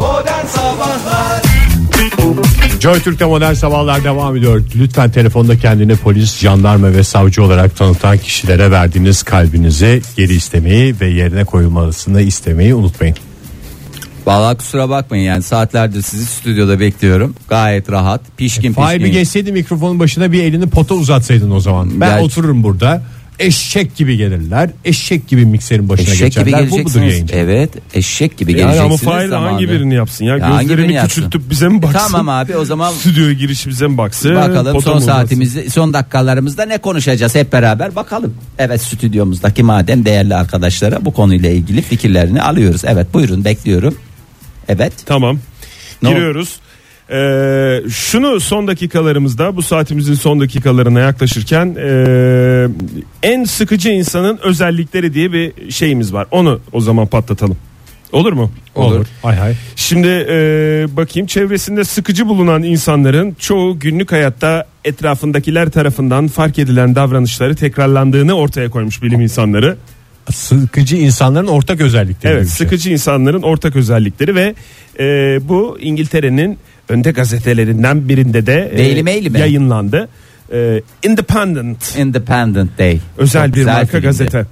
Modern Sabahlar Joy Türk'te modern sabahlar devam ediyor. Lütfen telefonda kendini polis, jandarma ve savcı olarak tanıtan kişilere verdiğiniz kalbinizi geri istemeyi ve yerine koyulmasını istemeyi unutmayın. Vallahi kusura bakmayın yani saatlerdir sizi stüdyoda bekliyorum. Gayet rahat. Pişkin E, Fahir bir pişkin. geçseydi mikrofonun başına bir elini pota uzatsaydın o zaman. Ben Belki- otururum burada. Eşek gibi gelirler. Eşek gibi mikserin başına Eşek gibi geçerler. Bu budur geleceksiniz. E, yayın. evet, eşek gibi Yani ama geleceksiniz. Fahir zamanı. hangi birini yapsın ya? Ya hangi Gözlerini birini yapsın? küçültüp bize mi baksın? Tamam abi o zaman Stüdyoya giriş bize mi baksın? bakalım Foto son mu baksın? saatimizi son dakikalarımızda ne konuşacağız hep beraber bakalım. Evet stüdyomuzdaki madem değerli arkadaşlara bu konuyla ilgili fikirlerini alıyoruz. Evet buyurun bekliyorum. Evet. Tamam. Ne Giriyoruz. Ee, şunu son dakikalarımızda bu saatimizin son dakikalarına yaklaşırken ee, en sıkıcı insanın özellikleri diye bir şeyimiz var. Onu o zaman patlatalım. Olur mu? Olur. Hay hay. Şimdi e, bakayım çevresinde sıkıcı bulunan insanların çoğu günlük hayatta etrafındakiler tarafından fark edilen davranışları tekrarlandığını ortaya koymuş bilim insanları. Sıkıcı insanların ortak özellikleri. Evet gibi bir şey. sıkıcı insanların ortak özellikleri ve e, bu İngiltere'nin önde gazetelerinden birinde de e, Daily Mail mi? yayınlandı. E, Independent Independent Day. özel Çok bir güzel marka filmdi. gazete.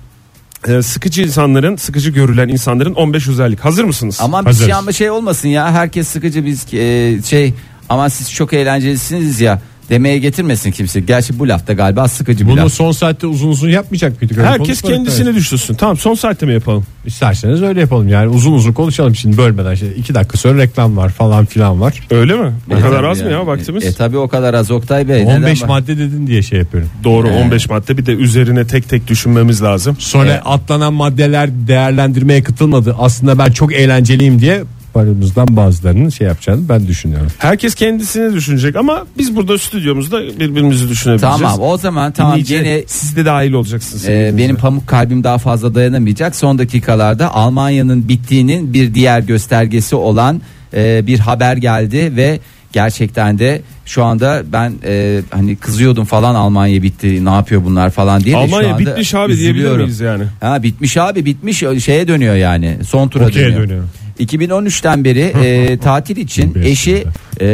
E, sıkıcı insanların sıkıcı görülen insanların 15 özellik. Hazır mısınız? Aman bir Hazırız. şey, ama şey olmasın ya herkes sıkıcı biz e, şey ama siz çok eğlencelisiniz ya demeye getirmesin kimse. Gerçi bu lafta galiba sıkıcı bir Bunu laf. son saatte uzun uzun yapmayacak mıydık? Öyle Herkes konuşmadık da. kendisini düşünsün. Tamam son saatte mi yapalım? İsterseniz öyle yapalım yani uzun uzun konuşalım şimdi bölmeden işte iki dakika sonra reklam var falan filan var. Öyle mi? Ne E, kadar tabii az mı yani. ya vaktimiz? E, e, tabii o kadar az Oktay Bey. neden 15 bak- madde dedin diye şey yapıyorum. Doğru 15 madde bir de üzerine tek tek düşünmemiz lazım. Sonra Evet. atlanan maddeler değerlendirmeye katılmadı. Aslında ben çok eğlenceliyim diye paramızdan bazılarının şey yapacağını ben düşünüyorum. Herkes kendisini düşünecek ama biz burada stüdyomuzda birbirimizi düşünebileceğiz. Tamam o zaman tamam Dinleyiciye- gene siz de dahil olacaksınız. e, benim pamuk kalbim daha fazla dayanamayacak. Son dakikalarda Almanya'nın bittiğinin bir diğer göstergesi olan e, bir haber geldi ve gerçekten de şu anda ben e, hani kızıyordum falan Almanya bitti ne yapıyor bunlar falan diye de şu Almanya anda bitmiş abi diyebilir üzülüyorum. miyiz yani? Ha bitmiş abi bitmiş şeye dönüyor yani son tura Okey'e dönüyor. dönüyor. 2013'ten beri e, tatil için Bir eşi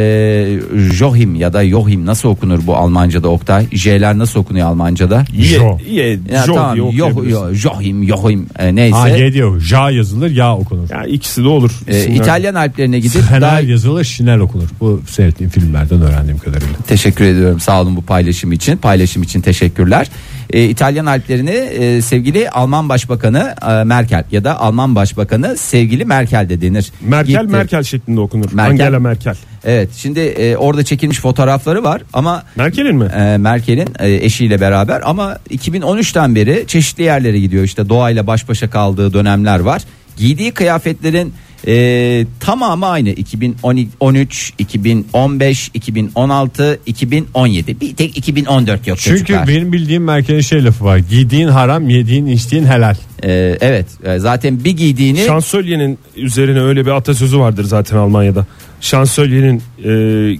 e, Joachim ya da Joachim nasıl okunur bu Almanca'da Oktay? J'ler nasıl okunuyor Almanca'da? Jo. Ye, ye, Ya jo tamam diye Joh- okuyabilirsin. Joh- Joachim Joachim e, neyse. Ha Y şey diyor. Ja yazılır ya okunur. Ya ikisi de olur. E, İsimler. İtalyan Alplerine gidip daha- Fener yazılır şinel okunur. Bu seyrettiğim filmlerden öğrendiğim kadarıyla. Teşekkür ediyorum sağ olun bu paylaşım için. Paylaşım için teşekkürler. Ee, İtalyan Alplerini e, sevgili Alman Başbakanı e, Merkel ya da Alman Başbakanı sevgili Merkel de denir. Merkel Gitti. Merkel şeklinde okunur. Merkel. Angela Merkel. Evet şimdi e, orada çekilmiş fotoğrafları var ama Merkel'in mi? e, Merkel'in e, eşiyle beraber ama 2013'ten beri çeşitli yerlere gidiyor işte doğayla baş başa kaldığı dönemler var. Giydiği kıyafetlerin e, tamamı aynı 2013, 2015, 2016, 2017 bir tek 2014 yok Çünkü çocuklar. benim bildiğim Merkel'in şey lafı var. Giydiğin haram, yediğin, içtiğin helal. E, evet e, zaten bir giydiğini Şansölyenin üzerine öyle bir atasözü vardır zaten Almanya'da. Şansölyenin e,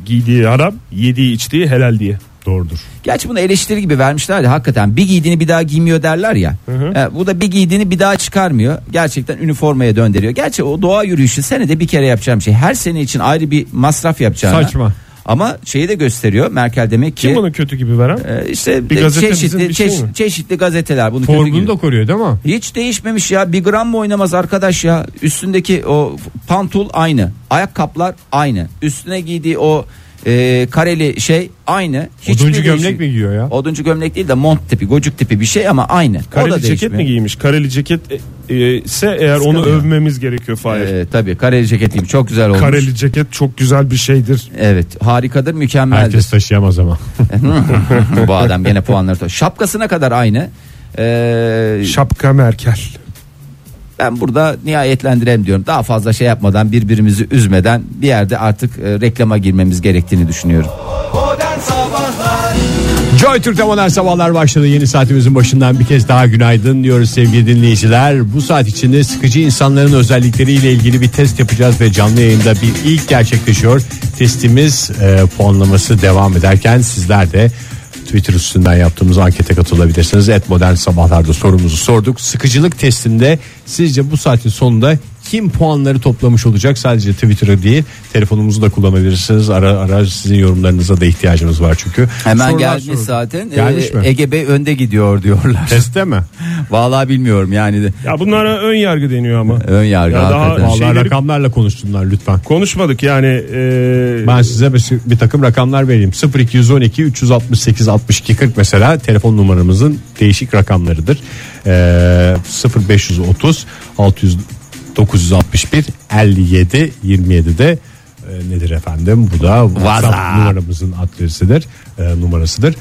giydiği haram, yediği içtiği helal diye. Doğrudur. Gerçi bunu eleştiri gibi vermişlerdi hakikaten. Bir giydiğini bir daha giymiyor derler ya. E, bu da bir giydiğini bir daha çıkarmıyor. Gerçekten üniformaya döndürüyor. Gerçi o doğa yürüyüşü senede bir kere yapacağım şey. Her sene için ayrı bir masraf yapacağına. Saçma. Ama şeyi de gösteriyor. Merkel demek ki Kim bunu kötü gibi veren? e, işte Bir de- gazete çeşitli bizim bir şey çeşit- mi? çeşitli gazeteler bunu kötü Formunu gibi- da koruyor değil mi? Hiç değişmemiş ya. Bir gram mı oynamaz arkadaş ya? Üstündeki o pantul aynı. Ayakkabılar aynı. Üstüne giydiği o e, kareli şey aynı. Hiçbir Oduncu gömlek değişik- mi giyiyor ya? Oduncu gömlek değil de mont tipi, gocuk tipi bir şey ama aynı. o da Kareli ceket değişmiyor. mi giymiş? Kareli ceket e, e, ise eğer onu Sıkılıyor. övmemiz gerekiyor Fahir. Ee, tabii kareli ceket gibi çok güzel olmuş. Kareli ceket çok güzel bir şeydir. Evet harikadır mükemmeldir. Herkes taşıyamaz ama. Bu adam gene puanları to- Şapkasına kadar aynı. Ee, Şapka Merkel. ben burada nihayetlendirelim diyorum. Daha fazla şey yapmadan birbirimizi üzmeden bir yerde artık e, reklama girmemiz gerektiğini düşünüyorum. Modern Sabahlar Joy Türk'te modern sabahlar başladı. Yeni saatimizin başından bir kez daha günaydın diyoruz sevgili dinleyiciler. Bu saat içinde sıkıcı insanların özellikleriyle ilgili bir test yapacağız ve canlı yayında bir ilk gerçekleşiyor. Testimiz e, puanlaması devam ederken sizler de Twitter üstünden yaptığımız ankete katılabilirsiniz. Et modern sabahlarda sorumuzu sorduk. Sıkıcılık testinde sizce bu saatin sonunda kim puanları toplamış olacak sadece Twitter'ı değil telefonumuzu da kullanabilirsiniz ara ara sizin yorumlarınıza da ihtiyacımız var çünkü Hemen Sorular gelmiş soruldu. zaten. gelmiş Ee, mi? Ege Bey önde gidiyor diyorlar. Teste mi? Vallahi bilmiyorum yani. de- Ya bunlara ön yargı deniyor ama. Ön yargı Ya daha- hakikaten. Vallahi Şeyleri- rakamlarla konuşsunlar lütfen. Konuşmadık yani. e, Ben size bir, bir takım rakamlar vereyim. 0212 368 62 40 mesela telefon numaramızın değişik rakamlarıdır. Ee, 0530 600 961 57 27 de e, nedir efendim? Bu da WhatsApp WhatsApp. numaramızın adresidir, e, numarasıdır.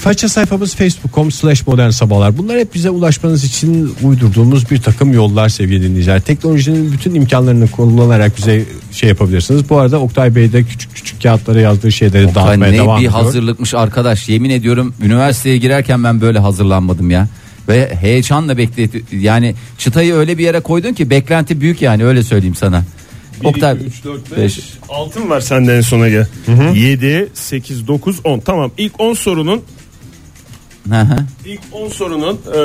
Faça sayfamız facebook.com slash modern sabahlar. Bunlar hep bize ulaşmanız için uydurduğumuz bir takım yollar sevgili dinleyiciler. Teknolojinin bütün imkanlarını kullanarak bize şey yapabilirsiniz. Bu arada Oktay Bey de küçük küçük kağıtlara yazdığı şeyleri Hani dağıtmaya ne devam bir ediyor. hazırlıkmış arkadaş. Yemin ediyorum üniversiteye girerken ben böyle hazırlanmadım ya. Ve heyecanla beklet yani çıtayı öyle bir yere koydun ki beklenti büyük yani öyle söyleyeyim sana. Bir, iki, üç, dört, beş. Altın var sende en sona gel. 7, 8, 9, 10. Tamam ilk 10 sorunun Hı hı. ilk 10 sorunun e,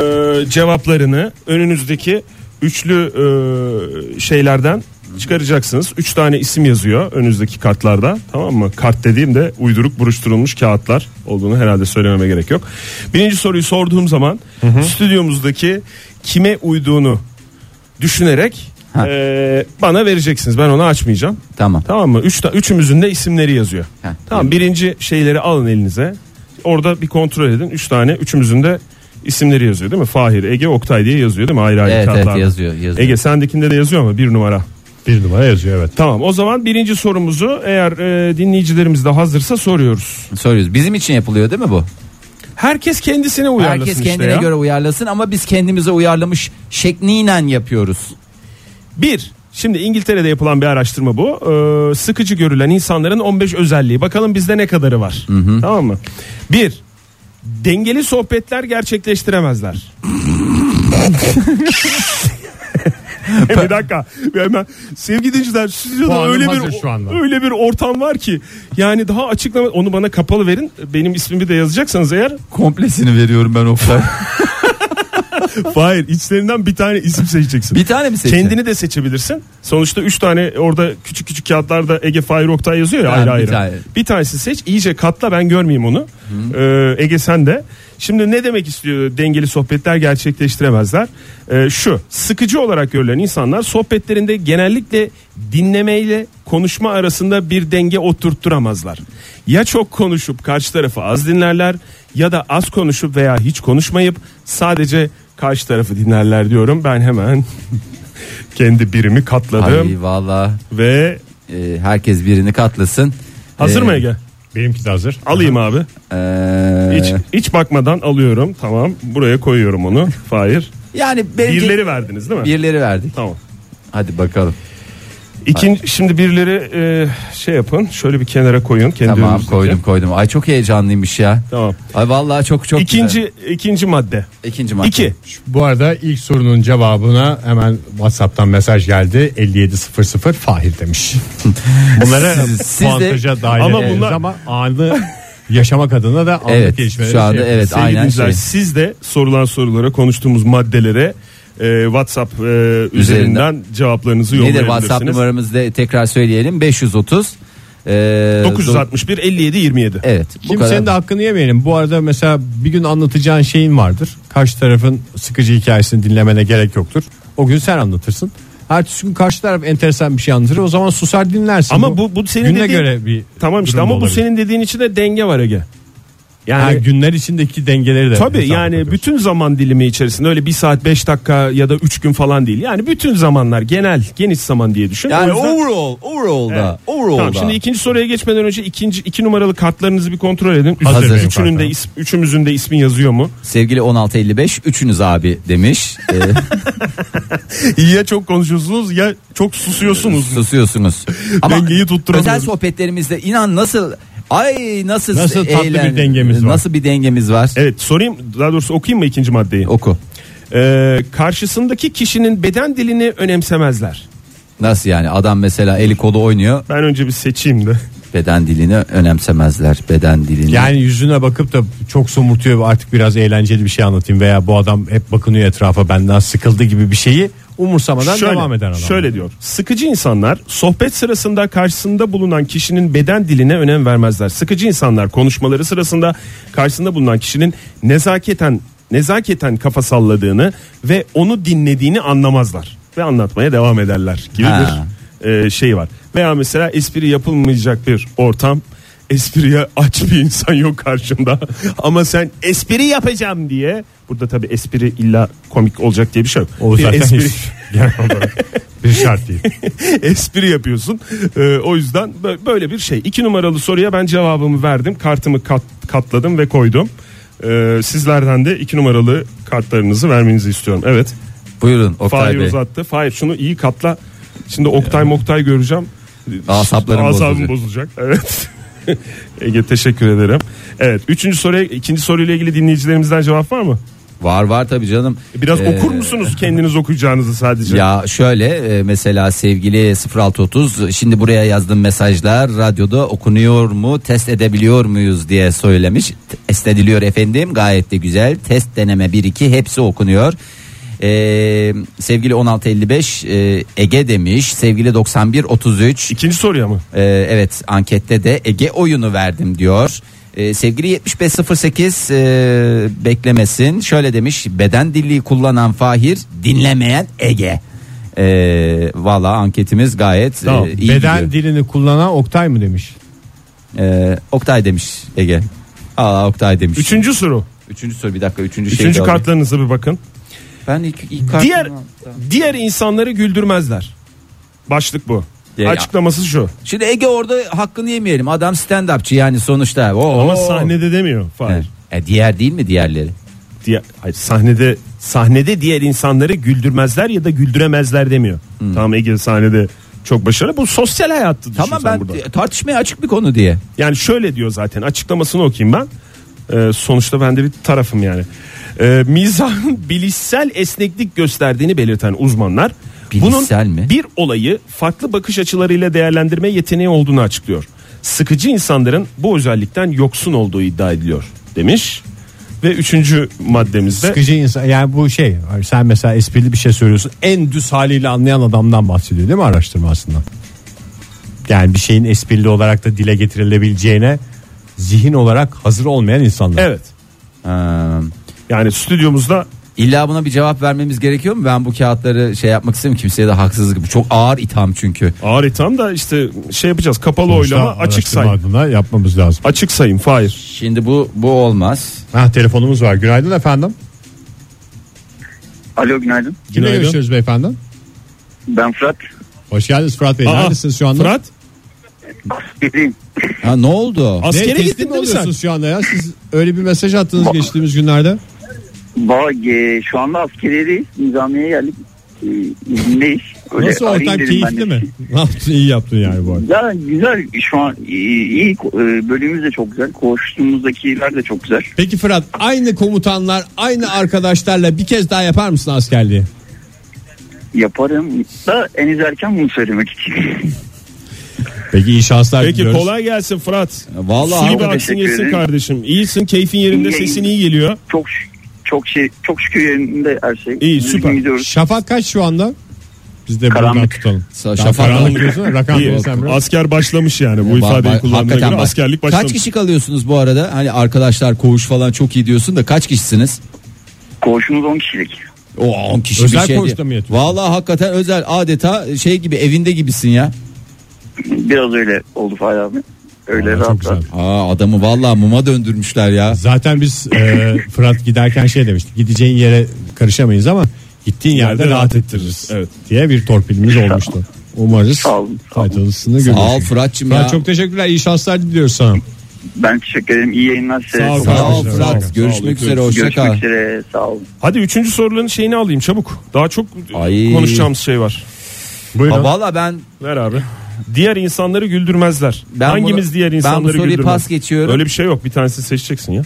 cevaplarını önünüzdeki üçlü e, şeylerden çıkaracaksınız. 3 tane isim yazıyor önünüzdeki kartlarda. Tamam mı? Kart dediğim de uyduruk buruşturulmuş kağıtlar olduğunu herhalde söylememe gerek yok. Birinci soruyu sorduğum zaman stüdyomuzdaki kime uyduğunu düşünerek Ha. e, bana vereceksiniz. Ben onu açmayacağım. Tamam. Tamam mı? Üç, ta- üçümüzün de isimleri yazıyor. Heh, tamam birinci şeyleri alın elinize. Orada bir kontrol edin. Üç tane üçümüzün de isimleri yazıyor değil mi? Fahir, Ege, Oktay diye yazıyor değil mi? Ayrı ayrı Evet, evet, kağıtlarda. yazıyor, yazıyor. Ege sendekinde de yazıyor ama bir numara. Bir numara yazıyor evet. Tamam o zaman birinci sorumuzu eğer e, dinleyicilerimiz de hazırsa soruyoruz. Soruyoruz. Bizim için yapılıyor değil mi bu? Herkes kendisine uyarlasın Herkes işte kendine ya. göre uyarlasın ama biz kendimize uyarlamış şekliyle yapıyoruz. Bir, şimdi İngiltere'de yapılan bir araştırma bu. Ee, sıkıcı görülen insanların 15 özelliği. Bakalım bizde ne kadarı var. Tamam mı? Bir, dengeli sohbetler gerçekleştiremezler. bir dakika. Bir Hemen sevgili dinleyiciler stüdyoda Puanım öyle hazır bir şu anda. öyle bir ortam var ki yani daha açıklama onu bana kapalı verin. Benim ismimi de yazacaksanız eğer Komplesini veriyorum ben Oktay. Hayır içlerinden bir tane isim seçeceksin. Bir tane mi seçeceğim? Kendini de seçebilirsin. Sonuçta 3 tane orada küçük küçük kağıtlarda Ege Fahir Oktay yazıyor ya Ha, ayrı bir ayrı. tane. Bir tanesi seç iyice katla ben görmeyeyim onu. Ee, Ege sen de. Şimdi ne demek istiyor dengeli sohbetler gerçekleştiremezler? Ee, şu sıkıcı olarak görülen insanlar sohbetlerinde genellikle dinlemeyle konuşma arasında bir denge oturtturamazlar. Ya çok konuşup karşı tarafı az dinlerler ya da az konuşup veya hiç konuşmayıp sadece karşı tarafı dinlerler diyorum. Ben hemen kendi birimi katladım Ay valla ve e, herkes birini katlasın. hazır E, mı Ege? Benimki de hazır. Alayım abi. e, Hiç, hiç bakmadan alıyorum. Tamam. Buraya koyuyorum onu. Fahir. Yani belki Birileri verdiniz değil mi? birileri verdik. Tamam. Hadi bakalım. İkinci, şimdi birileri e, şey yapın. Şöyle bir kenara koyun. Kendi Tamam önünüzdeki. koydum koydum. Ay çok heyecanlıymış ya. Tamam. Ay vallahi çok çok İkinci güzel. ikinci madde. ikinci maç. İki. Bu arada ilk sorunun cevabına hemen WhatsApp'tan mesaj geldi. 5700 Fahir demiş. Bunlara Siz- siz de- puantaja dahil Ama ama, bunlar- ama anı yaşamak adına da anlık Evet, gelişmeleri şu anda şey evet, Sevgili aynen dinleyiciler, şey. siz de sorulan sorulara konuştuğumuz maddelere e, WhatsApp e, üzerinden cevaplarınızı Nedir yollayabilirsiniz. WhatsApp numaramızı da tekrar söyleyelim. 530 e, 961 57 27. Evet. bu Kimsenin de kadar. hakkını yemeyelim. Bu arada mesela bir gün anlatacağın şeyin vardır. Karşı tarafın sıkıcı hikayesini dinlemene gerek yoktur. O gün sen anlatırsın. Ertesi gün karşı taraf enteresan bir şey anlatır. O zaman susar dinlersin. Ama bu- bu senin güne dediğin- göre bir Tamam işte durum ama bu olabilir. senin dediğin içinde denge var Ege. yani günler içindeki dengeleri de Tabii hesaba yani katıyorsun. bütün zaman dilimi içerisinde öyle bir saat 5 dakika ya da 3 gün falan değil. Yani bütün zamanlar genel geniş zaman diye düşün. Yani O yüzden- overall, overall da, Evet. overall Tamam, da. şimdi ikinci soruya geçmeden önce ikinci iki numaralı kartlarınızı bir kontrol edin. Üst- Hazır. Üçünün de Kartlarım. is- üçümüzün de ismi yazıyor mu? Sevgili 1655 üçünüz abi demiş. E, ya çok konuşuyorsunuz ya çok susuyorsunuz. susuyorsunuz. Dengeyi tutturamıyoruz. Özel sohbetlerimizde inan nasıl ay nasıl Nasıl tatlı bir eğlen- dengemiz var. Nasıl bir dengemiz var. Evet sorayım daha doğrusu okuyayım mı ikinci maddeyi? Oku. Ee, karşısındaki kişinin beden dilini önemsemezler. Nasıl yani adam mesela eli kolu oynuyor Ben önce bir seçeyim de. beden dilini önemsemezler beden dilini. Yani yüzüne bakıp da çok somurtuyor artık biraz eğlenceli bir şey anlatayım veya bu adam hep bakınıyor etrafa benden sıkıldı gibi bir şeyi umursamadan şöyle, devam eden adam. Şöyle diyor. Sıkıcı insanlar sohbet sırasında karşısında bulunan kişinin beden diline önem vermezler. Sıkıcı insanlar konuşmaları sırasında karşısında bulunan kişinin nezaketen nezaketen kafa salladığını ve onu dinlediğini anlamazlar ve anlatmaya devam ederler gibi Ha. bir e, şey var. Veya mesela espri yapılmayacak bir ortam espriye aç bir insan yok karşında ama sen espri yapacağım diye burada tabi espri illa komik olacak diye bir şey yok. O bir zaten espri, hiç- genel olarak bir şart değil. espri yapıyorsun. Ee, o yüzden bö- böyle bir şey. İki numaralı soruya ben cevabımı verdim. Kartımı kat, katladım ve koydum. Ee, sizlerden de iki numaralı kartlarınızı vermenizi istiyorum. Evet. Buyurun Oktay Fahir Bey. uzattı. Fahir şunu iyi katla. Şimdi Oktay Moktay göreceğim. Asaplarım Asabım bozulacak. bozulacak. Evet. Ege teşekkür ederim. Evet. Üçüncü soruya, ikinci soruyla ilgili dinleyicilerimizden cevap var mı? Var var tabii canım. E, Biraz Ee, okur musunuz kendiniz okuyacağınızı sadece? Ya şöyle e, mesela sevgili 0630 şimdi buraya yazdığım mesajlar radyoda okunuyor mu test edebiliyor muyuz diye söylemiş. Test ediliyor efendim gayet de güzel test deneme 1-2 hepsi okunuyor. Ee, sevgili 1655 e, Ege demiş sevgili 9133 İkinci soruya mı? ee, evet ankette de Ege oyunu verdim diyor. Ee, sevgili 7508 e, beklemesin. Şöyle demiş beden dilliği kullanan Fahir dinlemeyen Ege. Ee, Valla anketimiz gayet Tamam, e, iyi Ee, Beden gidiyor. dilini kullanan Oktay mı demiş? Ee, Oktay demiş Ege. Aa Oktay demiş. Üçüncü soru. Üçüncü soru bir dakika üçüncü, şey. Üçüncü kartlarınıza bir bakın. Ben ilk, ilk kartımı Diğer aldım. diğer insanları güldürmezler. Başlık bu. Ya- Açıklaması şu. Şimdi Ege orada hakkını yemeyelim. Adam stand upçı yani sonuçta. Oo. Ama sahnede demiyor. Hayır. Evet. E, diğer değil mi diğerleri? Diğer, hayır sahnede sahnede diğer insanları güldürmezler ya da güldüremezler demiyor. Tamam Ege sahnede çok başarılı. Bu sosyal hayattı düşün Hmm. Tamam sen ben burada. tartışmaya açık bir konu diye. Yani şöyle diyor zaten açıklamasını okuyayım ben. Ee, sonuçta ben de bir tarafım yani. Ee, mizahın bilişsel esneklik gösterdiğini belirten uzmanlar Bilişsel bunun mi? bir olayı farklı bakış açılarıyla değerlendirme yeteneği olduğunu açıklıyor. Sıkıcı insanların bu özellikten yoksun olduğu iddia ediliyor demiş. Ve üçüncü maddemizde Sıkıcı insan yani bu şey hani sen mesela esprili bir şey söylüyorsun en düz haliyle anlayan adamdan bahsediyor değil mi araştırma aslında? Yani bir şeyin esprili olarak da dile getirilebileceğine zihin olarak hazır olmayan insanlar. evet Ha. yani stüdyomuzda İlla Ee, buna bir cevap vermemiz gerekiyor mu? Ben bu kağıtları şey yapmak istemiyorum. Kimseye de haksızlık. Bu çok ağır itham çünkü. ağır itham da işte şey yapacağız kapalı Sonuçta oylama açık araştırma sayım. adına yapmamız lazım. Açık sayım Fahir. Şimdi bu bu olmaz. Ha, telefonumuz var. Günaydın efendim. Alo günaydın. Kimle Günaydın. görüşüyoruz beyefendi? Ben Fırat. Hoş geldiniz Fırat Bey. Aa, Neredesiniz şu anda? Fırat Geleyim. Ha ne oldu? Ne, askere teslim gittin mi değil mi sen? oluyorsunuz şu anda ya? Siz öyle bir mesaj attınız geçtiğimiz günlerde. Ba, e, şu anda askeriyedeyiz. Nizamiye'ye geldik. E, izindeyiz. Öyle Nasıl arayayım ortam dedim ben keyifli de. mi? Ne yaptın iyi yaptın yani bu arada. Ya güzel şu an e, iyi e, bölümümüz de çok güzel. Koştuğumuzdakiler de çok güzel. Peki Fırat aynı komutanlar aynı arkadaşlarla bir kez daha yapar mısın askerliği? Yaparım da en erken bunu söylemek için. Peki iyi şanslar Peki diliyoruz. kolay gelsin Fırat. Vallahi Suyu bir çok aksın teşekkür yesin ederim. kardeşim. İyisin keyfin yerinde İyi sesin iyi yayınlar. geliyor. çok ş- çok şey çok şükür yerinde her şey. İyi, Düzgün süper. Gidiyoruz. Şafak kaç şu anda? Biz de buradan Karanlık. tutalım. Sa- Daha şafak karanlık karanlık. diyorsun. Rakam İyi. diyorsun sen biraz. Asker başlamış yani bu ifadeyi Ba- ba- kullandığına hakikaten göre bak. askerlik başlamış. Kaç kişi kalıyorsunuz bu arada? Hani arkadaşlar koğuş falan çok iyi diyorsun da kaç kişisiniz? Koğuşumuz 10 kişilik. O 10 kişi Özel bir şey koğuşta diye. mı yatıyorsun? Vallahi hakikaten özel adeta şey gibi evinde gibisin ya. Biraz öyle oldu Fahri abi. Öyle Aa, çok rahat rahat. güzel. Aa adamı vallahi muma döndürmüşler ya. Zaten biz e, Fırat giderken şey demiştik. Gideceğin yere karışamayız ama gittiğin yerde, Yerde rahat rahat ettiririz. evet. Diye bir torpilimiz olmuştu. Umarız Sağ olun, sağ olun. faydalısını görürsün. Al Fırat'cığım Fırat ya. çok teşekkürler. İyi şanslar diliyoruz sana. Ben teşekkür ederim. İyi yayınlar size. Sağ ol. Sağ ol Arkadaşlar, sağ ol. Fırat. Sağ olun, Görüşmek üzere. Hoşça Görüşmek kal. üzere. Sağ olun. Hadi üçüncü soruların şeyini alayım çabuk. Daha çok Ay. konuşacağımız şey var. Buyurun. Ha, Valla ben Ver abi. Diğer insanları güldürmezler. Ben Hangimiz bunu- diğer ben bu insanları soruyu güldürmez? pas geçiyorum. Öyle bir şey yok. Bir tanesini seçeceksin ya.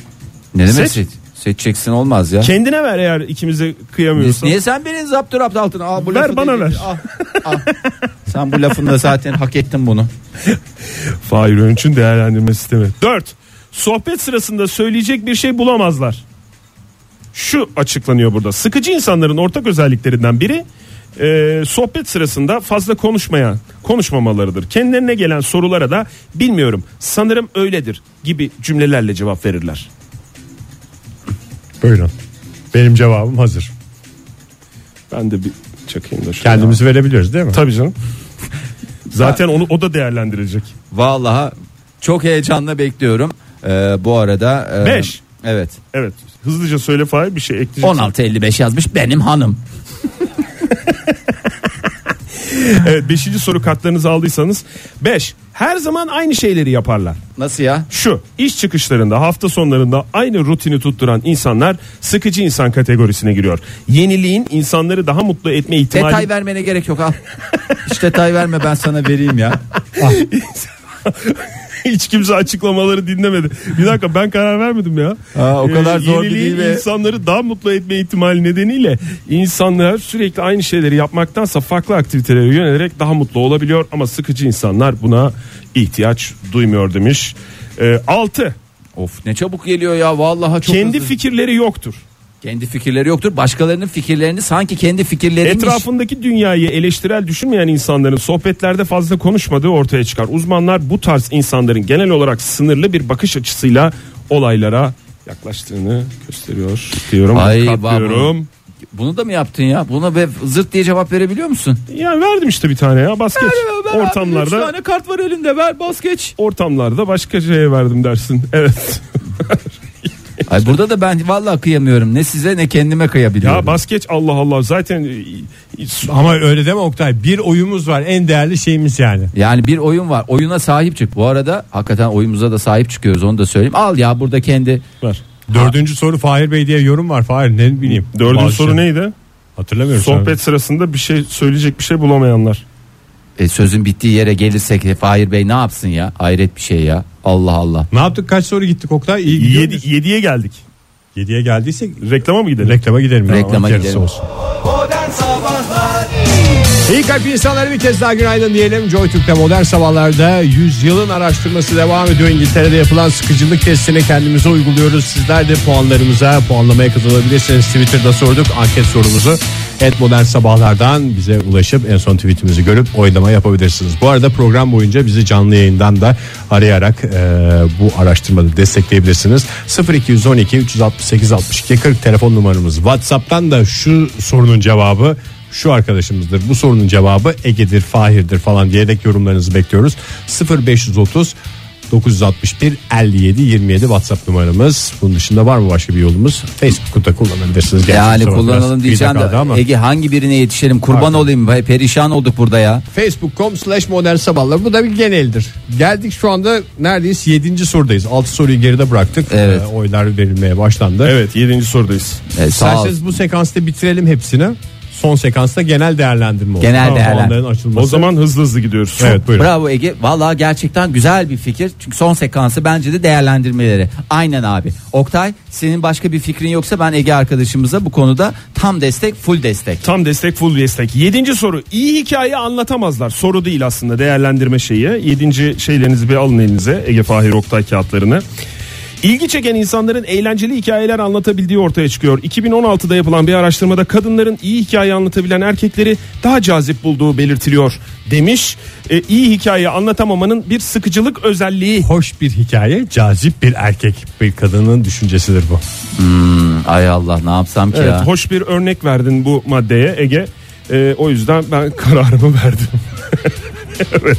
ne demek Seç. seç. seçeceksin olmaz ya. Kendine ver eğer ikimize kıyamıyorsan. Niye sen beni zapturapt altına? Aa, bu Ver lafı bana dedi. ver. Ah, ah. sen bu lafında zaten hak ettin bunu. Fahir Önç'ün değerlendirme sistemi. 4. Sohbet sırasında söyleyecek bir şey bulamazlar. Şu açıklanıyor burada. Sıkıcı insanların ortak özelliklerinden biri e, sohbet sırasında fazla konuşmaya konuşmamalarıdır. Kendilerine gelen sorulara da bilmiyorum sanırım öyledir gibi cümlelerle cevap verirler. Buyurun. Benim cevabım hazır. Ben de bir çakayım da şöyle. Kendimizi verebiliyoruz değil mi? Tabii canım. Zaten onu o da değerlendirecek. Vallahi çok heyecanla bekliyorum. Ee, bu arada e, Beş. Evet. Evet. Hızlıca söyle Fahir bir şey ekleyeceksin. 16.55 yazmış benim hanım. Evet 5. soru kartlarınızı aldıysanız 5. Her zaman aynı şeyleri yaparlar. Nasıl ya? Şu iş çıkışlarında hafta sonlarında aynı rutini tutturan insanlar sıkıcı insan kategorisine giriyor. Yeniliğin insanları daha mutlu etme ihtimali Detay vermene gerek yok al. Hiç detay verme ben sana vereyim ya. hiç kimse açıklamaları dinlemedi. Bir dakika ben karar vermedim ya. Ee, Aa, o kadar zor bir yeniliğin değil ve- insanları daha mutlu etme ihtimali nedeniyle insanlar sürekli aynı şeyleri yapmaktansa farklı aktivitelere yönelerek daha mutlu olabiliyor ama sıkıcı insanlar buna ihtiyaç duymuyor demiş. 6. Of ne çabuk geliyor ya vallahi çok kendi hızlı. fikirleri yoktur. kendi fikirleri yoktur. Başkalarının fikirlerini sanki kendi fikirleriymiş. Etrafındaki dünyayı eleştirel düşünmeyen insanların sohbetlerde fazla konuşmadığı ortaya çıkar. Uzmanlar bu tarz insanların genel olarak sınırlı bir bakış açısıyla olaylara yaklaştığını gösteriyor diyorum. Ay, katlıyorum. Bunu da mı yaptın ya? Buna be zırt diye cevap verebiliyor musun? Ya verdim işte bir tane ya basket. ortamlarda kart var elinde ver bas geç. ortamlarda başka şeye verdim dersin. Evet. Ay burada da ben vallahi kıyamıyorum. Ne size ne kendime kıyabiliyorum. ya basket Allah Allah zaten e, Ama öyle deme Oktay. Bir oyumuz var. En değerli şeyimiz yani. Yani bir oyun var. Oyuna sahip çık. Bu arada hakikaten oyunumuza da sahip çıkıyoruz onu da söyleyeyim. Al ya burada kendi var. Dördüncü soru Fahir Bey diye yorum var. Fahir ne bileyim. Dördüncü Bazı soru şey- neydi? Hatırlamıyorum. Sohbet sırasında bir şey söyleyecek bir şey bulamayanlar. e, sözün bittiği yere gelirsek e, Fahir Bey ne yapsın ya? Hayret bir şey ya. Allah Allah. Ne yaptık? Kaç soru gittik Oktay? İyi gidiyor Yedi, muyuz? yediye geldik. Yediye geldiysek Reklama mı gidelim? reklama gidelim. ya. Reklama Yarısı gidelim. olsun. Modern Sabahlar İyi kalp insanlara bir kez daha günaydın diyelim. Joy Türk'te modern sabahlarda yüzyılın araştırması devam ediyor. İngiltere'de yapılan sıkıcılık testini kendimize uyguluyoruz. Sizler de puanlarımıza puanlamaya katılabilirsiniz. Twitter'da sorduk anket sorumuzu. Et modern sabahlardan bize ulaşıp en son tweetimizi görüp oylama yapabilirsiniz. Bu arada program boyunca bizi canlı yayından da arayarak e, bu araştırmada destekleyebilirsiniz. 0212 368 62 40 telefon numaramız. WhatsApp'tan da şu sorunun cevabı şu arkadaşımızdır. Bu sorunun cevabı Ege'dir, Fahir'dir falan diyerek yorumlarınızı bekliyoruz. 0530 961 57 27 WhatsApp numaramız. Bunun dışında var mı başka bir yolumuz? Facebook'u da kullanabilirsiniz. Gerçi Yani kusura bakma, biraz kullanalım diyeceğim kıyıda kaldı de ama. Ege hangi birine yetişelim kurban Pardon. olayım be, perişan olduk burada ya. Facebook.com slash modern sabahlar. Bu da bir geneldir. Geldik şu anda neredeyiz? 7. sorudayız. 6 soruyu geride bıraktık. Evet. Ee, oylar verilmeye başlandı. Evet 7. sorudayız. E, sağ ol. İsterseniz bu sekansta bitirelim hepsini. Son sekansta genel değerlendirme olsun. Genel değerlendirme. puanların açılması. O zaman hızlı hızlı gidiyoruz. evet buyurun. Bravo Ege. Vallahi gerçekten güzel bir fikir. Çünkü son sekansı bence de değerlendirmeleri. Aynen abi. Oktay senin başka bir fikrin yoksa ben Ege arkadaşımıza bu konuda tam destek, full destek. Tam destek full destek. Yedinci soru. İyi hikaye anlatamazlar. Soru değil aslında değerlendirme şeyi. Yedinci şeylerinizi bir alın elinize. Ege Fahir Oktay kağıtlarını. İlgi çeken insanların eğlenceli hikayeler anlatabildiği ortaya çıkıyor. 2016'da yapılan bir araştırmada kadınların iyi hikaye anlatabilen erkekleri daha cazip bulduğu belirtiliyor demiş. E, iyi hikaye anlatamamanın bir sıkıcılık özelliği. hoş bir hikaye, cazip bir erkek, bir kadının düşüncesidir bu. Ay Allah ne yapsam ki Evet, ya. hoş bir örnek verdin bu maddeye Ege. Ee, o yüzden ben kararımı verdim. evet.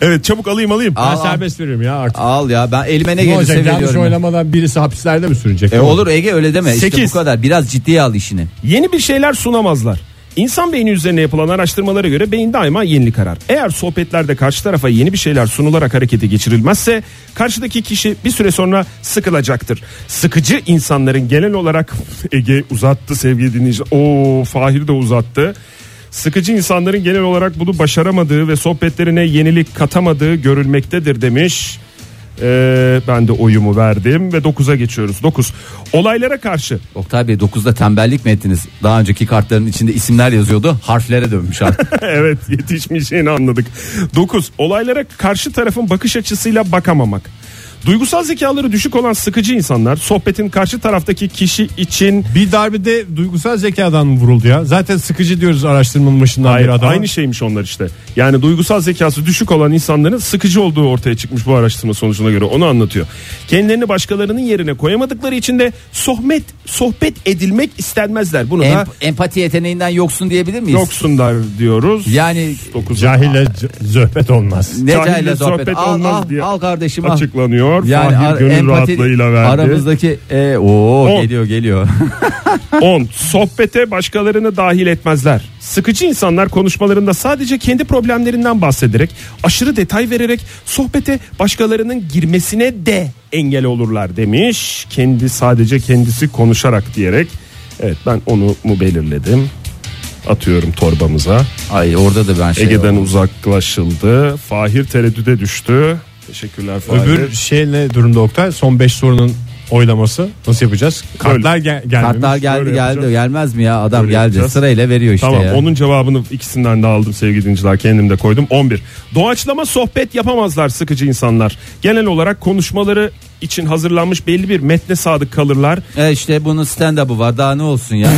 Evet çabuk alayım alayım. Ben Aa. serbest veriyorum ya artık. Al ya ben elime ne ne olacak gelirse yanlış veriyorum. ya. oylamadan birisi hapislerde mi sürecek? E olur Ege öyle deme. İşte Sekiz. bu kadar. Biraz ciddiye al işini. Yeni bir şeyler sunamazlar. İnsan beyni üzerine yapılan araştırmalara göre beyin daima yenilik arar. Eğer sohbetlerde karşı tarafa yeni bir şeyler sunularak harekete geçirilmezse karşıdaki kişi bir süre sonra sıkılacaktır. Sıkıcı insanların genel olarak Ege uzattı sevgili dinleyici. O Fahir de uzattı. Sıkıcı insanların genel olarak bunu başaramadığı ve sohbetlerine yenilik katamadığı görülmektedir demiş. Ee, ben de oyumu verdim ve 9'a geçiyoruz. 9. Olaylara karşı Oktay Bey 9'da tembellik mi ettiniz? Daha önceki kartların içinde isimler yazıyordu. Harflere dönmüş artık. evet yetişmeyeceğini anladık. 9. Olaylara karşı tarafın bakış açısıyla bakamamak. Duygusal zekaları düşük olan sıkıcı insanlar sohbetin karşı taraftaki kişi için Bir darbede duygusal zekadan mı vuruldu ya? Zaten sıkıcı diyoruz araştırmanın başından Hayır, beri adama. aynı şeymiş onlar işte. Yani duygusal zekası düşük olan insanların sıkıcı olduğu ortaya çıkmış bu araştırma sonucuna göre. Onu anlatıyor. Kendilerini başkalarının yerine koyamadıkları için de sohbet sohbet edilmek istenmezler. Bunu da Emp- empati yeteneğinden yoksun diyebilir miyiz? yoksunlar diyoruz. Yani Dokuz. Cahille z- zöhbet olmaz. Cahille Necayla sohbet, sohbet al, olmaz al, diye al kardeşim al. Açıklanıyor. Yani Fahir ar- gönül empati- rahatlığıyla verdi. aramızdaki e, oo, On. geliyor geliyor. 10. Sohbete başkalarını dahil etmezler. Sıkıcı insanlar konuşmalarında sadece kendi problemlerinden bahsederek, aşırı detay vererek sohbete başkalarının girmesine de engel olurlar demiş. Kendi sadece kendisi konuşarak diyerek. Evet ben onu mu belirledim. Atıyorum torbamıza. Ay orada da ben şey Ege'den oldum. uzaklaşıldı. Fahir tereddüde düştü. Teşekkürler Fahir. Öbür şey ne durumda Oktay? Son 5 sorunun oylaması nasıl yapacağız? Kartlar gel gelmemiş. Kartlar geldi Böyle geldi yapacağız. gelmez mi ya adam Böyle geldi yapacağız. sırayla veriyor işte Tamam ya. onun cevabını ikisinden de aldım sevgili dinleyiciler kendim de koydum 11. Doğaçlama sohbet yapamazlar sıkıcı insanlar. Genel olarak konuşmaları için hazırlanmış belli bir metne sadık kalırlar. E işte bunun stand up'ı var daha ne olsun ya.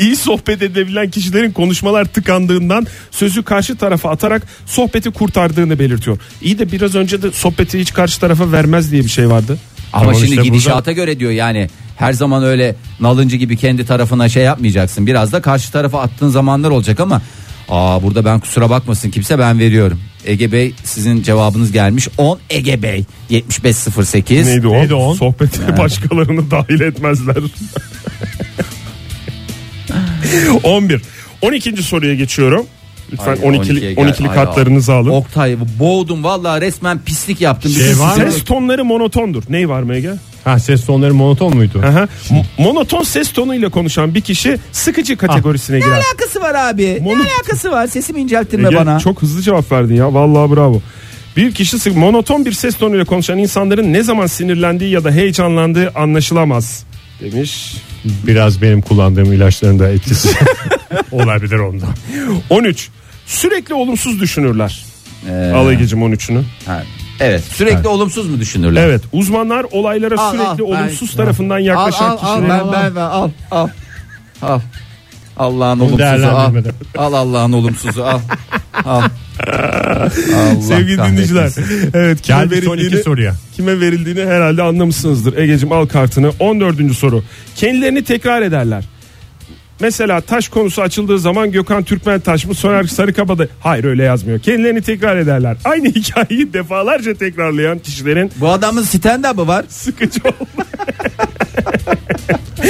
İyi sohbet edebilen kişilerin konuşmalar tıkandığından sözü karşı tarafa atarak sohbeti kurtardığını belirtiyor. İyi de biraz önce de sohbeti hiç karşı tarafa vermez diye bir şey vardı. Ama Tamam şimdi işte gidişata göre diyor yani her zaman öyle nalıncı gibi kendi tarafına şey yapmayacaksın. Biraz da karşı tarafa attığın zamanlar olacak ama aa burada ben kusura bakmasın kimse ben veriyorum. Ege Bey sizin cevabınız gelmiş 10 Ege Bey 7508. Neydi o? Neydi o? Sohbete başkalarını dahil etmezler. 11. 12. soruya geçiyorum. Lütfen Ay, 12'ye 12'li gel. 12'li Ay, kartlarınızı alın. Oktay boğdum vallahi resmen pislik yaptım. Şey Bütün var sistemi- Ses tonları monotondur. Ney var Mege? Ha ses tonları monoton muydu? Aha. Mo- Monoton ses tonuyla konuşan bir kişi sıkıcı Ah. kategorisine Ne girer. alakası var abi? Mono- Ne alakası var? Sesimi incelttirme Ege, bana. Çok hızlı cevap verdin ya. Vallahi bravo. Bir kişi sık monoton bir ses tonuyla konuşan insanların ne zaman sinirlendiği ya da heyecanlandığı anlaşılamaz demiş. Biraz benim kullandığım ilaçların da etkisi olabilir ondan. 13. Sürekli olumsuz düşünürler. Al Ege'cim 13'ünü. Ha, Evet. Sürekli olumsuz mu düşünürler? Evet uzmanlar olaylara Al, sürekli al, ben- olumsuz tarafından yaklaşan al, al, al, kişilerin ben, ben, ben, al, al, al. Allah'ın olumsuzu al. değerlendirmeden. Al Allah'ın olumsuzu al. al. Allah sevgili kahretmesin. dinleyiciler. Evet kime Geldi son iki verildiğini, soruya. kime verildiğini herhalde anlamışsınızdır. Egeciğim al kartını. 14. soru. Kendilerini tekrar ederler. Mesela taş konusu açıldığı zaman Gökhan Türkmen taş mı Soner Sarıkabada hayır öyle yazmıyor. Kendilerini tekrar ederler. Aynı hikayeyi defalarca tekrarlayan kişilerin Bu adamın stand up'ı var. sıkıcı olma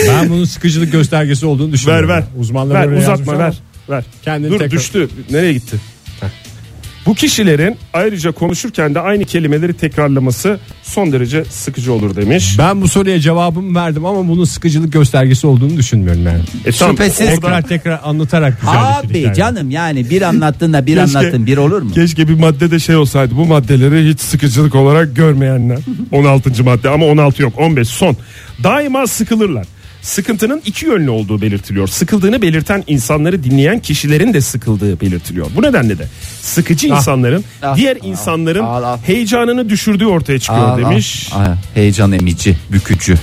Ben bunun sıkıcılık göstergesi olduğunu Ver düşünüyorum. ver. Uzmanlar ver, öyle yazmış uzatma ama ver. Ver. Kendini Dur tekrar- düştü. Nereye gitti? Heh. Bu kişilerin ayrıca konuşurken de aynı kelimeleri tekrarlaması son derece sıkıcı olur demiş. Ben bu soruya cevabımı verdim ama bunun sıkıcılık göstergesi olduğunu düşünmüyorum yani. E tamam, Şüphesiz. oradan- Tekrar tekrar anlatarak şey güzel Abi bitirdik yani. canım yani bir anlattığında bir Keşke- anlattın bir olur mu? Keşke bir madde de şey olsaydı. Bu maddeleri hiç sıkıcılık olarak görmeyenler. 16. madde ama 16 yok. 15 son. Daima sıkılırlar. Sıkıntının iki yönlü olduğu belirtiliyor. Sıkıldığını belirten insanları dinleyen kişilerin de sıkıldığı belirtiliyor. Bu nedenle de sıkıcı insanların Ah. diğer Ah. insanların Al, al. heyecanını düşürdüğü ortaya çıkıyor Al, al. demiş. Aa, heyecan emici, bükücü.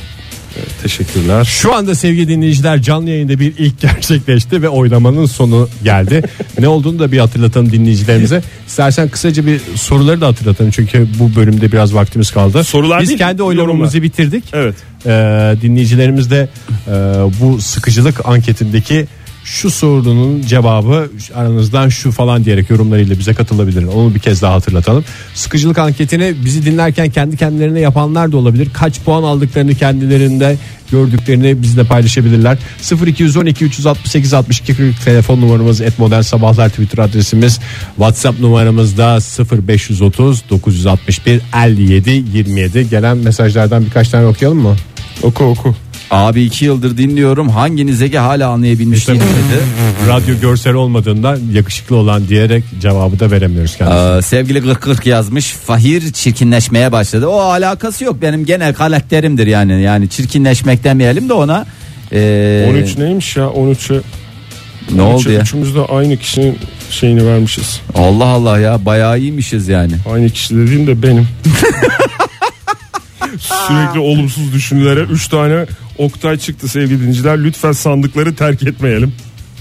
Teşekkürler. Şu anda sevgili dinleyiciler canlı yayında bir ilk gerçekleşti ve oylamanın sonu geldi. ne olduğunu da bir hatırlatalım dinleyicilerimize. İstersen kısaca bir soruları da hatırlatalım çünkü bu bölümde biraz vaktimiz kaldı. Sorular Biz değil, kendi yorumlar. oylamamızı bitirdik. Evet. Ee, dinleyicilerimiz de e, bu sıkıcılık anketindeki şu sorunun cevabı aranızdan şu falan diyerek yorumlarıyla bize katılabilir. Onu bir kez daha hatırlatalım. Sıkıcılık anketini bizi dinlerken kendi kendilerine yapanlar da olabilir. Kaç puan aldıklarını kendilerinde gördüklerini bizle paylaşabilirler. 0212 368 62 40 telefon numaramız et modern sabahlar Twitter adresimiz WhatsApp numaramız da 0530 961 57 27 gelen mesajlardan birkaç tane okuyalım mı? Oku oku. Abi iki yıldır dinliyorum hanginiz Ege hala anlayabilmiş değil dedi. Radyo görsel olmadığından yakışıklı olan diyerek cevabı da veremiyoruz kendisine. Ee, sevgili 40 yazmış. Fahir çirkinleşmeye başladı. O alakası yok. Benim genel karakterimdir yani. Yani çirkinleşmek demeyelim de ona. Ee, 13 neymiş ya 13'ü? ne oldu ya? Üçümüz de aynı kişinin şeyini vermişiz. Allah Allah ya bayağı iyiymişiz yani. Aynı kişi dediğim de benim. Sürekli olumsuz düşünülere 3 tane Oktay çıktı sevgili dinciler. Lütfen sandıkları terk etmeyelim.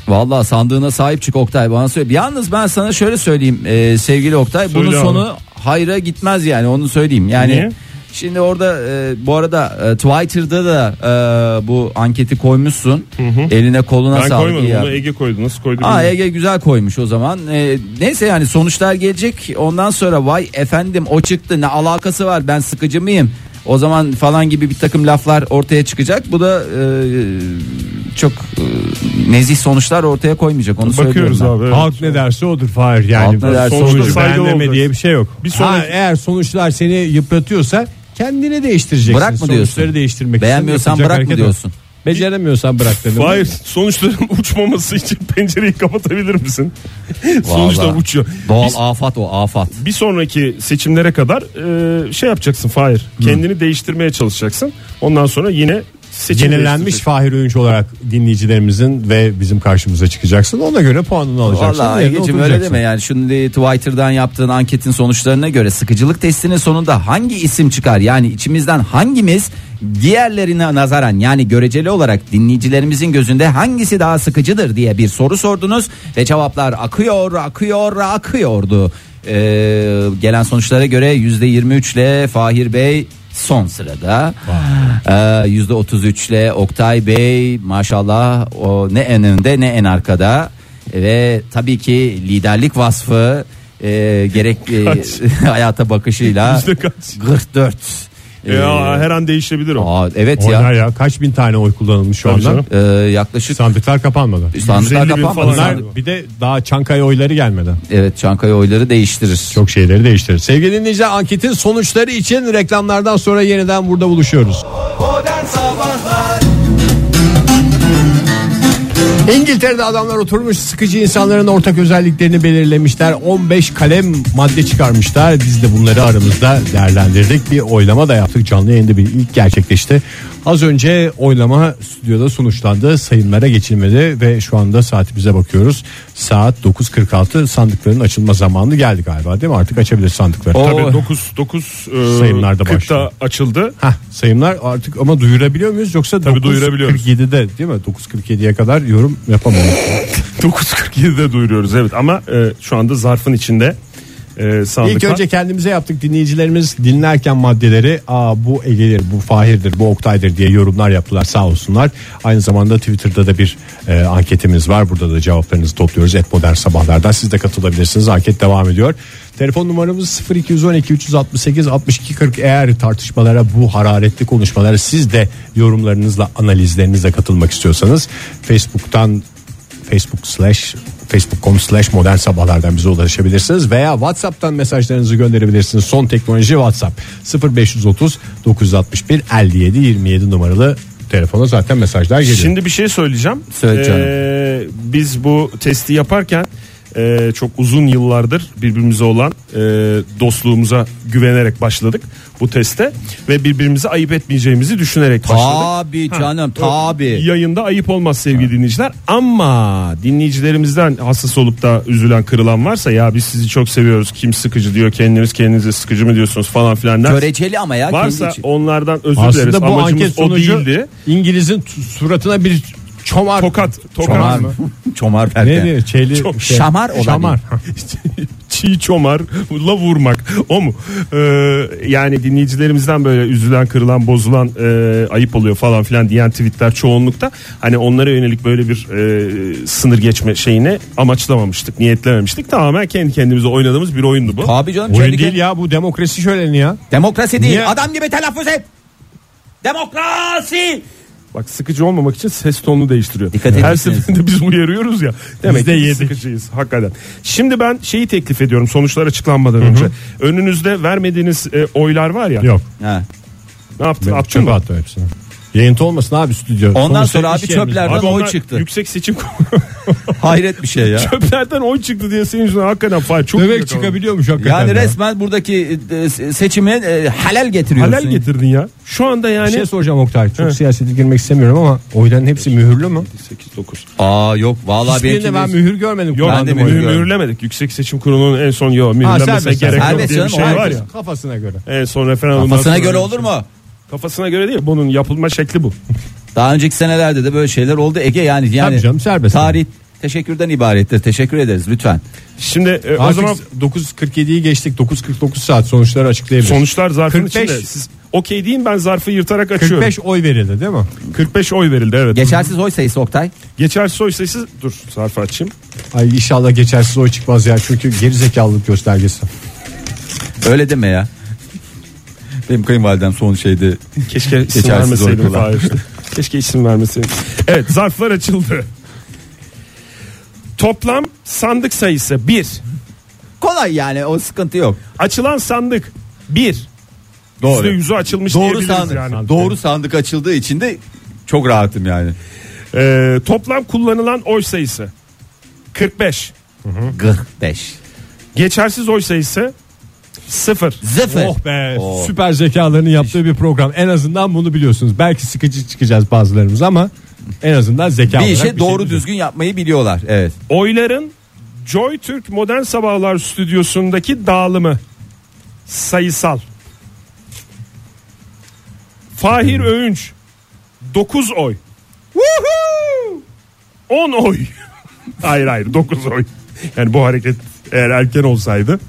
Vallahi sandığına sahip çık Oktay bana söyle. Yalnız ben sana şöyle söyleyeyim e, sevgili Oktay bunun Söyle abi. sonu hayra gitmez yani onu söyleyeyim. Yani Niye? şimdi orada e, bu arada e, Twitter'da da e, bu anketi koymuşsun. Eline koluna ben sağlık. koymadım iyi bunu abi. Ege koydu. Nasıl koydu? Aa, bilmiyorum. Ege güzel koymuş o zaman. E, neyse yani sonuçlar gelecek. Ondan sonra vay efendim o çıktı ne alakası var ben sıkıcı mıyım? O zaman falan gibi bir takım laflar ortaya çıkacak. Bu da e, çok e, nezih sonuçlar ortaya koymayacak. Onu Bakıyoruz söylüyorum ben. abi. evet. Halk ne derse odur Fahir yani. Halk ne derse Sonuçta Sonucu odur. saygı beğenmeme olacak. diye bir şey yok. Bir sonraki- Ha, eğer sonuçlar seni yıpratıyorsa kendini değiştireceksin. Bırak mı diyorsun? Sonuçları değiştirmek için Beğenmiyorsan yapacak bırak mı hareket diyorsun? yok. Beceremiyorsan bırak dedim. Hayır sonuçların uçmaması için pencereyi kapatabilir misin? Sonuçta Vallahi. uçuyor. Doğal Biz- afat o afat. bir sonraki seçimlere kadar e, şey yapacaksın Fahir. Kendini değiştirmeye çalışacaksın. Ondan sonra yine seçim Yenilenmiş değiştireceksin. Fahir Öğünç olarak dinleyicilerimizin ve bizim karşımıza çıkacaksın. Ona göre puanını alacaksın. Vallahi yerine Ege'cim öyle oturacaksın. deme yani şimdi Twitter'dan yaptığın anketin sonuçlarına göre sıkıcılık testinin sonunda hangi isim çıkar yani içimizden hangimiz diğerlerine nazaran yani göreceli olarak dinleyicilerimizin gözünde hangisi daha sıkıcıdır diye bir soru sordunuz ve cevaplar akıyor akıyor akıyordu. Ee, gelen sonuçlara göre %23 ile Fahir Bey son sırada. Ee, %33 ile Oktay Bey maşallah o ne en önde ne en arkada. Ve tabii ki liderlik vasfı e, gerek e, hayata bakışıyla Yüzde kaç? 44. E, Ee, Ya, her an değişebilir o. aa, evet Oynar ya. ya. Kaç bin tane oy kullanılmış şu Tabii anda. canım. E, yaklaşık Sandıklar kapanmadı. sandıklar 150 bin kapanmadı. falan. Sandık- Bunlar bir de daha Çankaya oyları gelmedi. Evet Çankaya oyları değiştirir. Çok şeyleri değiştirir. Sevgili dinleyiciler anketin sonuçları için reklamlardan sonra yeniden burada buluşuyoruz. Modern Sabahlar İngiltere'de adamlar oturmuş sıkıcı insanların ortak özelliklerini belirlemişler. 15 kalem madde çıkarmışlar. Biz de bunları aramızda değerlendirdik. Bir oylama da yaptık. Canlı yayında bir ilk gerçekleşti. Az önce oylama stüdyoda sonuçlandı. Sayımlara geçilmedi ve şu anda saatimize bakıyoruz. Saat 9.46 sandıkların açılma zamanı geldi galiba değil mi? Artık açabilir sandıkları. O- Tabii 9 9 Sayımlar da 40'ta başlıyor. açıldı. Hah, sayımlar artık ama duyurabiliyor muyuz yoksa Tabii duyurabiliyoruz. 9.47'de değil mi? 9.47'ye kadar yorum yapamam. 9.47'de duyuruyoruz evet ama e, şu anda zarfın içinde e, sandık İlk var. önce kendimize yaptık dinleyicilerimiz dinlerken maddeleri aa bu Ege'dir bu Fahir'dir bu Oktay'dır diye yorumlar yaptılar sağ olsunlar. Aynı zamanda Twitter'da da bir e, anketimiz var burada da cevaplarınızı topluyoruz et modern sabahlardan siz de katılabilirsiniz anket devam ediyor. Telefon numaramız 0212 368 62 40 eğer tartışmalara bu hararetli konuşmalara siz de yorumlarınızla analizlerinizle katılmak istiyorsanız Facebook'tan Facebook slash Facebook.com slash modern sabahlardan bize ulaşabilirsiniz veya Whatsapp'tan mesajlarınızı gönderebilirsiniz. Son teknoloji Whatsapp 0530 961 57 27 numaralı telefona zaten mesajlar geliyor. Şimdi bir şey söyleyeceğim. Söyle canım. Ee, biz bu testi yaparken e, çok uzun yıllardır birbirimize olan e, dostluğumuza güvenerek başladık bu teste ve birbirimize ayıp etmeyeceğimizi düşünerek başladık. Tabi canım Ha, tabi. Yayında ayıp olmaz sevgili dinleyiciler ama dinleyicilerimizden hassas olup da üzülen kırılan varsa ya biz sizi çok seviyoruz kim sıkıcı diyor kendiniz kendinize sıkıcı mı diyorsunuz falan filan der. Göreceli ama ya kendi Varsa için. onlardan özür dileriz aslında bu amacımız anket o sonucu değildi. İngiliz'in tu- suratına bir çomar Tokat, tokat Çomar mı? Çomar ne Perden. diyor? Çeli, Çok şamar olan şamar. çiğ çomarla vurmak o mu? Ee, yani dinleyicilerimizden böyle üzülen kırılan bozulan e, ayıp oluyor falan filan diyen tweetler çoğunlukta. Hani onlara yönelik böyle bir e, sınır geçme şeyini amaçlamamıştık niyetlememiştik. Tamamen kendi kendimize oynadığımız bir oyundu bu. Tabi canım. Oyun kendi- değil ya bu demokrasi şöleni ya. Demokrasi değil Niye? adam gibi telaffuz et. Demokrasi. Bak sıkıcı olmamak için ses tonunu değiştiriyor. Dikkat Her etmişsiniz. seferinde biz uyarıyoruz ya. Demek de ki yedik. sıkıcıyız hakikaten. Şimdi ben şeyi teklif ediyorum sonuçlar açıklanmadan önce. Önünüzde vermediğiniz e, oylar var ya. Yok. Ha. Ne yaptın? Ben Attın çöpe mı? attım hepsini. Yayıntı olmasın abi stüdyo. Ondan Sonuçta sonra iş abi yerimiz var. çöplerden Abi oy onlar çıktı. Yüksek seçim Hayret bir şey ya. çöplerden oy çıktı diye senin yüzünden hakikaten fay çok Demek büyük ama. çıkabiliyormuş hakikaten. Yani ya. resmen buradaki e, se- seçimi e, halal getiriyorsun. Halel getirdin ya. Şu anda Bir yani şey soracağım Oktay. Çok siyasete girmek istemiyorum ama oyların hepsi mühürlü mü? 8 9. Aa yok vallahi belki Hiçbirinde ben biz- mühür görmedim. Yok Ben de mühür- mühür görmedim. mühürlemedik. Yüksek Seçim Kurulu'nun en son yok mühürlemesine serbest, gerek yok serbest diye bir şey canım, var herkes. ya. Kafasına göre. En son referandumdan kafasına sonra göre öyle olur bir şey. mu? Kafasına göre değil. Bunun yapılma şekli bu. Daha önceki senelerde de böyle şeyler oldu Ege yani yani Tabii canım, serbest. tarih teşekkürden ibarettir. Teşekkür ederiz lütfen. Şimdi e, o Artık zaman 9.47'yi geçtik. 9.49 saat sonuçları açıklayabiliriz. sonuçlar zarfın 45. içinde. Siz okey deyin ben zarfı yırtarak açıyorum. 45, 45 oy verildi değil mi? oy verildi evet. Geçersiz oy sayısı Oktay. Geçersiz oy sayısı dur zarfı açayım. Ay inşallah geçersiz oy çıkmaz ya çünkü gerizekalılık göstergesi. Öyle deme ya. Benim kayınvalidem son şeydi. Keşke isim Geçersiz oy vermeseydim. kullan. Hayır işte. Keşke isim vermeseydim. Evet zarflar açıldı. Toplam sandık sayısı 1. Kolay yani o sıkıntı yok. Açılan sandık 1. Doğru. %100'ü açılmış Doğru diyebiliriz sandık. yani. Doğru sandık açıldığı için de çok rahatım yani. Ee, toplam kullanılan oy sayısı 45. 45. Geçersiz oy sayısı 0. Zıfır. Oh be Oo. süper zekalarının yaptığı bir program. En azından bunu biliyorsunuz. Belki sıkıcı çıkacağız bazılarımız ama en azından zeka Bir olarak işe doğru şey düzgün yapmayı biliyorlar. Evet. Oyların Joy Türk Modern Sabahlar stüdyosundaki dağılımı sayısal. Fahir Öğünç 9 oy. 10 oy. hayır hayır 9 oy. Yani bu hareket eğer erken olsaydı.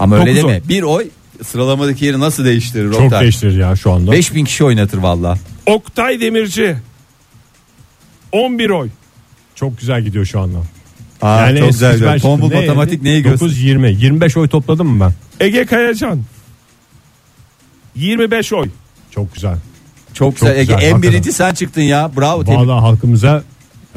Ama öyle Dokuz deme. Bir oy sıralamadaki yeri nasıl değiştirir Çok Oktay? değiştirir ya şu anda. 5000 kişi oynatır valla. Oktay Demirci 11 oy. Çok güzel gidiyor şu anda. Aa, çok eski güzel. ben diyor. şimdi Tombul ne- matematik neyi gösteriyor? 9 20 25 oy topladım mı ben? Ege Kayacan 25 oy. Çok güzel. Çok güzel. Ege, güzel, en hakikaten. birinci sen çıktın ya. Bravo. tebrik- Vallahi halkımıza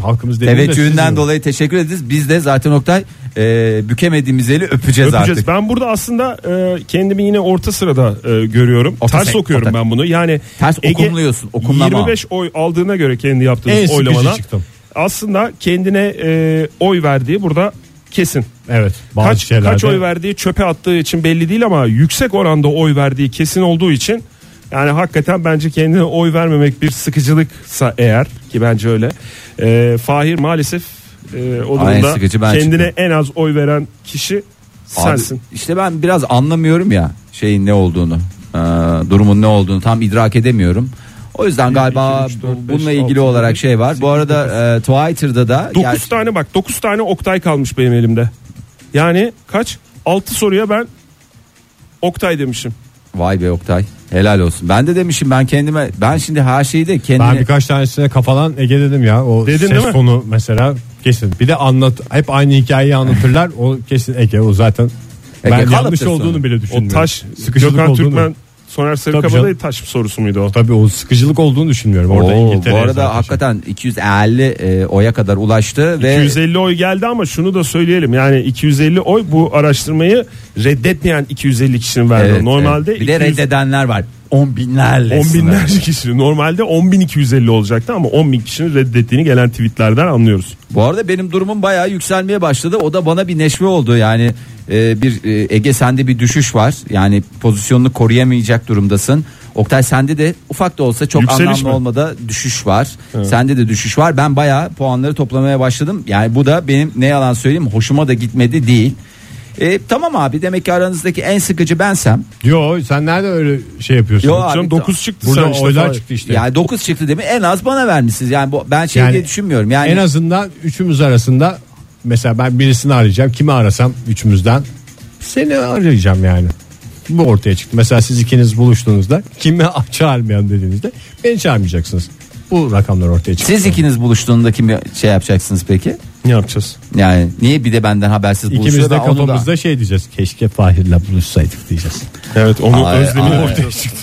halkımız dediğim de sizin Teveccühünden mi? dolayı teşekkür ederiz. Biz de zaten Oktay e, bükemediğimiz eli öpeceğiz, Öpeceğiz. artık. Ben burada aslında e, kendimi yine orta sırada e, görüyorum. Orta Ters sen- okuyorum orta- ben bunu. Yani Ters okumluyorsun, okumlama. 25 oy aldığına göre kendi En yaptığınız sıkıcı oylamana çıktım. aslında kendine e, oy verdiği burada kesin. Evet. Bazı kaç şeylerde kaç oy verdiği çöpe attığı için belli değil ama yüksek oranda oy verdiği kesin olduğu için yani hakikaten bence kendine oy vermemek bir sıkıcılıksa eğer ki bence öyle. e, Fahir maalesef e, o Aynen durumda sıkıcı ben kendine çıktım. en az oy veren kişi Abi, sensin. işte ben biraz anlamıyorum ya şeyin ne olduğunu. e, durumun ne olduğunu tam idrak edemiyorum. O yüzden galiba iki, üç, dört, bu- beş, bununla altı, ilgili olarak yedi, şey var. Bu arada e, Twitter'da da 9 gerçi- tane bak 9 tane Oktay kalmış benim elimde. Yani kaç? 6 soruya ben Oktay demişim. Vay be Oktay. Helal olsun. Ben de demişim ben kendime ben şimdi her şeyi de kendime Ben birkaç tanesine kafalan Ege dedim ya. O Dedin değil ses mi? tonu mesela kesin. Bir de anlat hep aynı hikayeyi anlatırlar. O kesin Ege o zaten. Ege ben yanlış kalıptır olduğunu sonra. bile O düşünmüyorum. taş sıkıcılık Gökhan olduğunu. Türkmen Soner Sarıkabadayı canım. taş sorusu muydu o? Tabii o sıkıcılık olduğunu düşünmüyorum. Orada Oo, İngiltere bu arada zaten. şey- hakikaten 250 e, oya kadar ulaştı ve 250 oy geldi ama şunu da söyleyelim. Yani 250 oy bu araştırmayı reddetmeyen 250 kişinin verdi. Evet, Normalde evet. bir de 200 reddedenler var. On binlerle. 10 sınırlı. binlerce kişi. Normalde 10.250 olacaktı ama 10.000 kişinin reddettiğini gelen tweetlerden anlıyoruz. Bu arada benim durumum bayağı yükselmeye başladı. O da bana bir neşve oldu. Yani e, bir e, Ege sende bir düşüş var. Yani pozisyonunu koruyamayacak durumdasın. Oktay sende de ufak da olsa çok Yükseliş anlamlı mi? olmada düşüş var. Sende de düşüş var. Ben bayağı puanları toplamaya başladım. Yani bu da benim ne yalan söyleyeyim hoşuma da gitmedi değil. E, tamam abi demek ki aranızdaki en sıkıcı bensem. Yo sen nerede öyle şey yapıyorsun? Yo, Canım abi, 9 çıktı Burada sen işte. oylar Fahir. çıktı işte. Yani 9 çıktı değil mi? En az bana vermişsiniz. Yani bu, ben şey Yani diye düşünmüyorum. Yani En azından üçümüz arasında mesela ben birisini arayacağım. Kimi arasam üçümüzden seni arayacağım yani. Bu ortaya çıktı. Mesela siz ikiniz buluştuğunuzda kimi çağırmayalım dediğinizde beni çağırmayacaksınız. Bu rakamlar ortaya çıktı. siz ikiniz buluştuğunda kim şey yapacaksınız peki? Ne yapacağız? Yani niye bir de benden habersiz buluşuyor? İkimiz de Ben onu da- kafamızda şey diyeceğiz. Keşke Fahir'le buluşsaydık diyeceğiz. Evet onu Ay, özlemi ay. ortaya çıktı.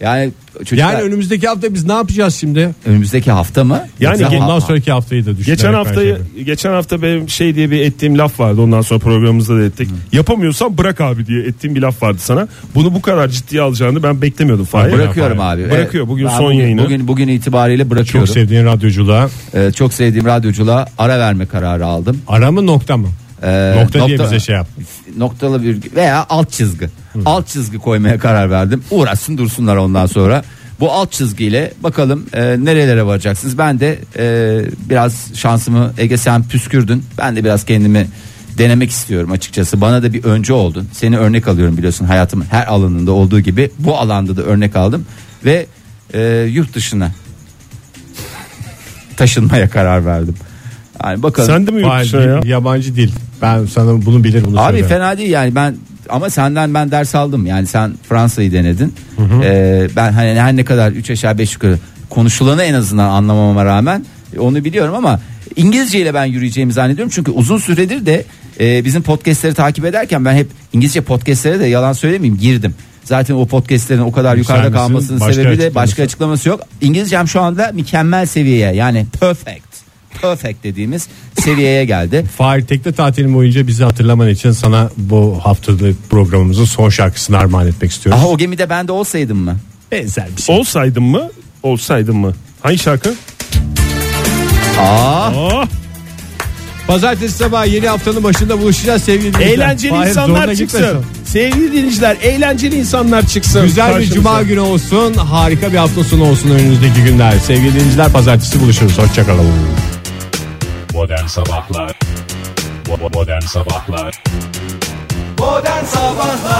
Yani çocuklar Yani önümüzdeki hafta biz ne yapacağız şimdi? önümüzdeki hafta mı? Yani Yoksa ge- ha- Ondan sonraki haftayı da düşünerek Geçen haftayı Perşembe. geçen hafta benim şey diye bir ettiğim laf vardı. Ondan sonra programımızda da ettik. Yapamıyorsan bırak abi diye ettiğim bir laf vardı sana. Bunu bu kadar ciddiye alacağını ben beklemiyordum Fahir. bırakıyorum abi. Bırakıyor. Bugün ben son bugün, yayını. Bugün bugün itibariyle çok bırakıyorum. Çok, sevdiğin radyoculuğa çok sevdiğim radyoculuğa ara verme kararı aldım. ara mı nokta mı? Ee, nokta, diye bize şey yap. Noktalı virgül veya alt çizgi. Alt çizgi koymaya karar verdim. Uğraşsın dursunlar ondan sonra. Bu alt çizgiyle bakalım e, nerelere varacaksınız. Ben de e, biraz şansımı Ege sen püskürdün. Ben de biraz kendimi denemek istiyorum açıkçası. Bana da bir öncü oldun. Seni örnek alıyorum biliyorsun hayatımın her alanında olduğu gibi. Bu alanda da örnek aldım. Ve e, yurt dışına taşınmaya karar verdim. Yani bakalım. Sen de mi yurt Hayır, dışına ya? Yabancı dil. Ben sana bunu bilir bunu Abi söylerim. fena değil yani ben ama senden ben ders aldım yani sen Fransa'yı denedin. Ee, ben hani her ne kadar 3 aşağı 5 yukarı konuşulanı en azından anlamama rağmen e, onu biliyorum ama İngilizce ile ben yürüyeceğimi zannediyorum. Çünkü uzun süredir de e, bizim podcastleri takip ederken ben hep İngilizce podcastlere de yalan söylemeyeyim girdim. Zaten o podcastlerin o kadar yukarıda Yükselmesinin kalmasının başka sebebi de açıklaması. başka açıklaması yok. İngilizcem şu anda mükemmel seviyeye yani perfect perfect dediğimiz seviyeye geldi. Fahir tekne tatilim boyunca bizi hatırlaman için sana bu haftalık programımızın son şarkısını armağan etmek istiyoruz. Aha o gemide ben de olsaydım mı? Benzer bir şey. Olsaydım mı? Olsaydım mı? Hangi şarkı? Aa, Aa, Pazartesi sabahı yeni haftanın başında buluşacağız sevgili dinleyiciler. eğlenceli Fahir, zoruna insanlar gitmesin. çıksın. Sevgili dinleyiciler, eğlenceli insanlar çıksın. Güzel bir karşımıza. cuma günü olsun. Harika bir hafta sonu olsun önümüzdeki günler. Sevgili dinleyiciler pazartesi buluşuruz. Hoşçakalın. Modern Sabahlar Bo- Modern Sabahlar Modern Sabahlar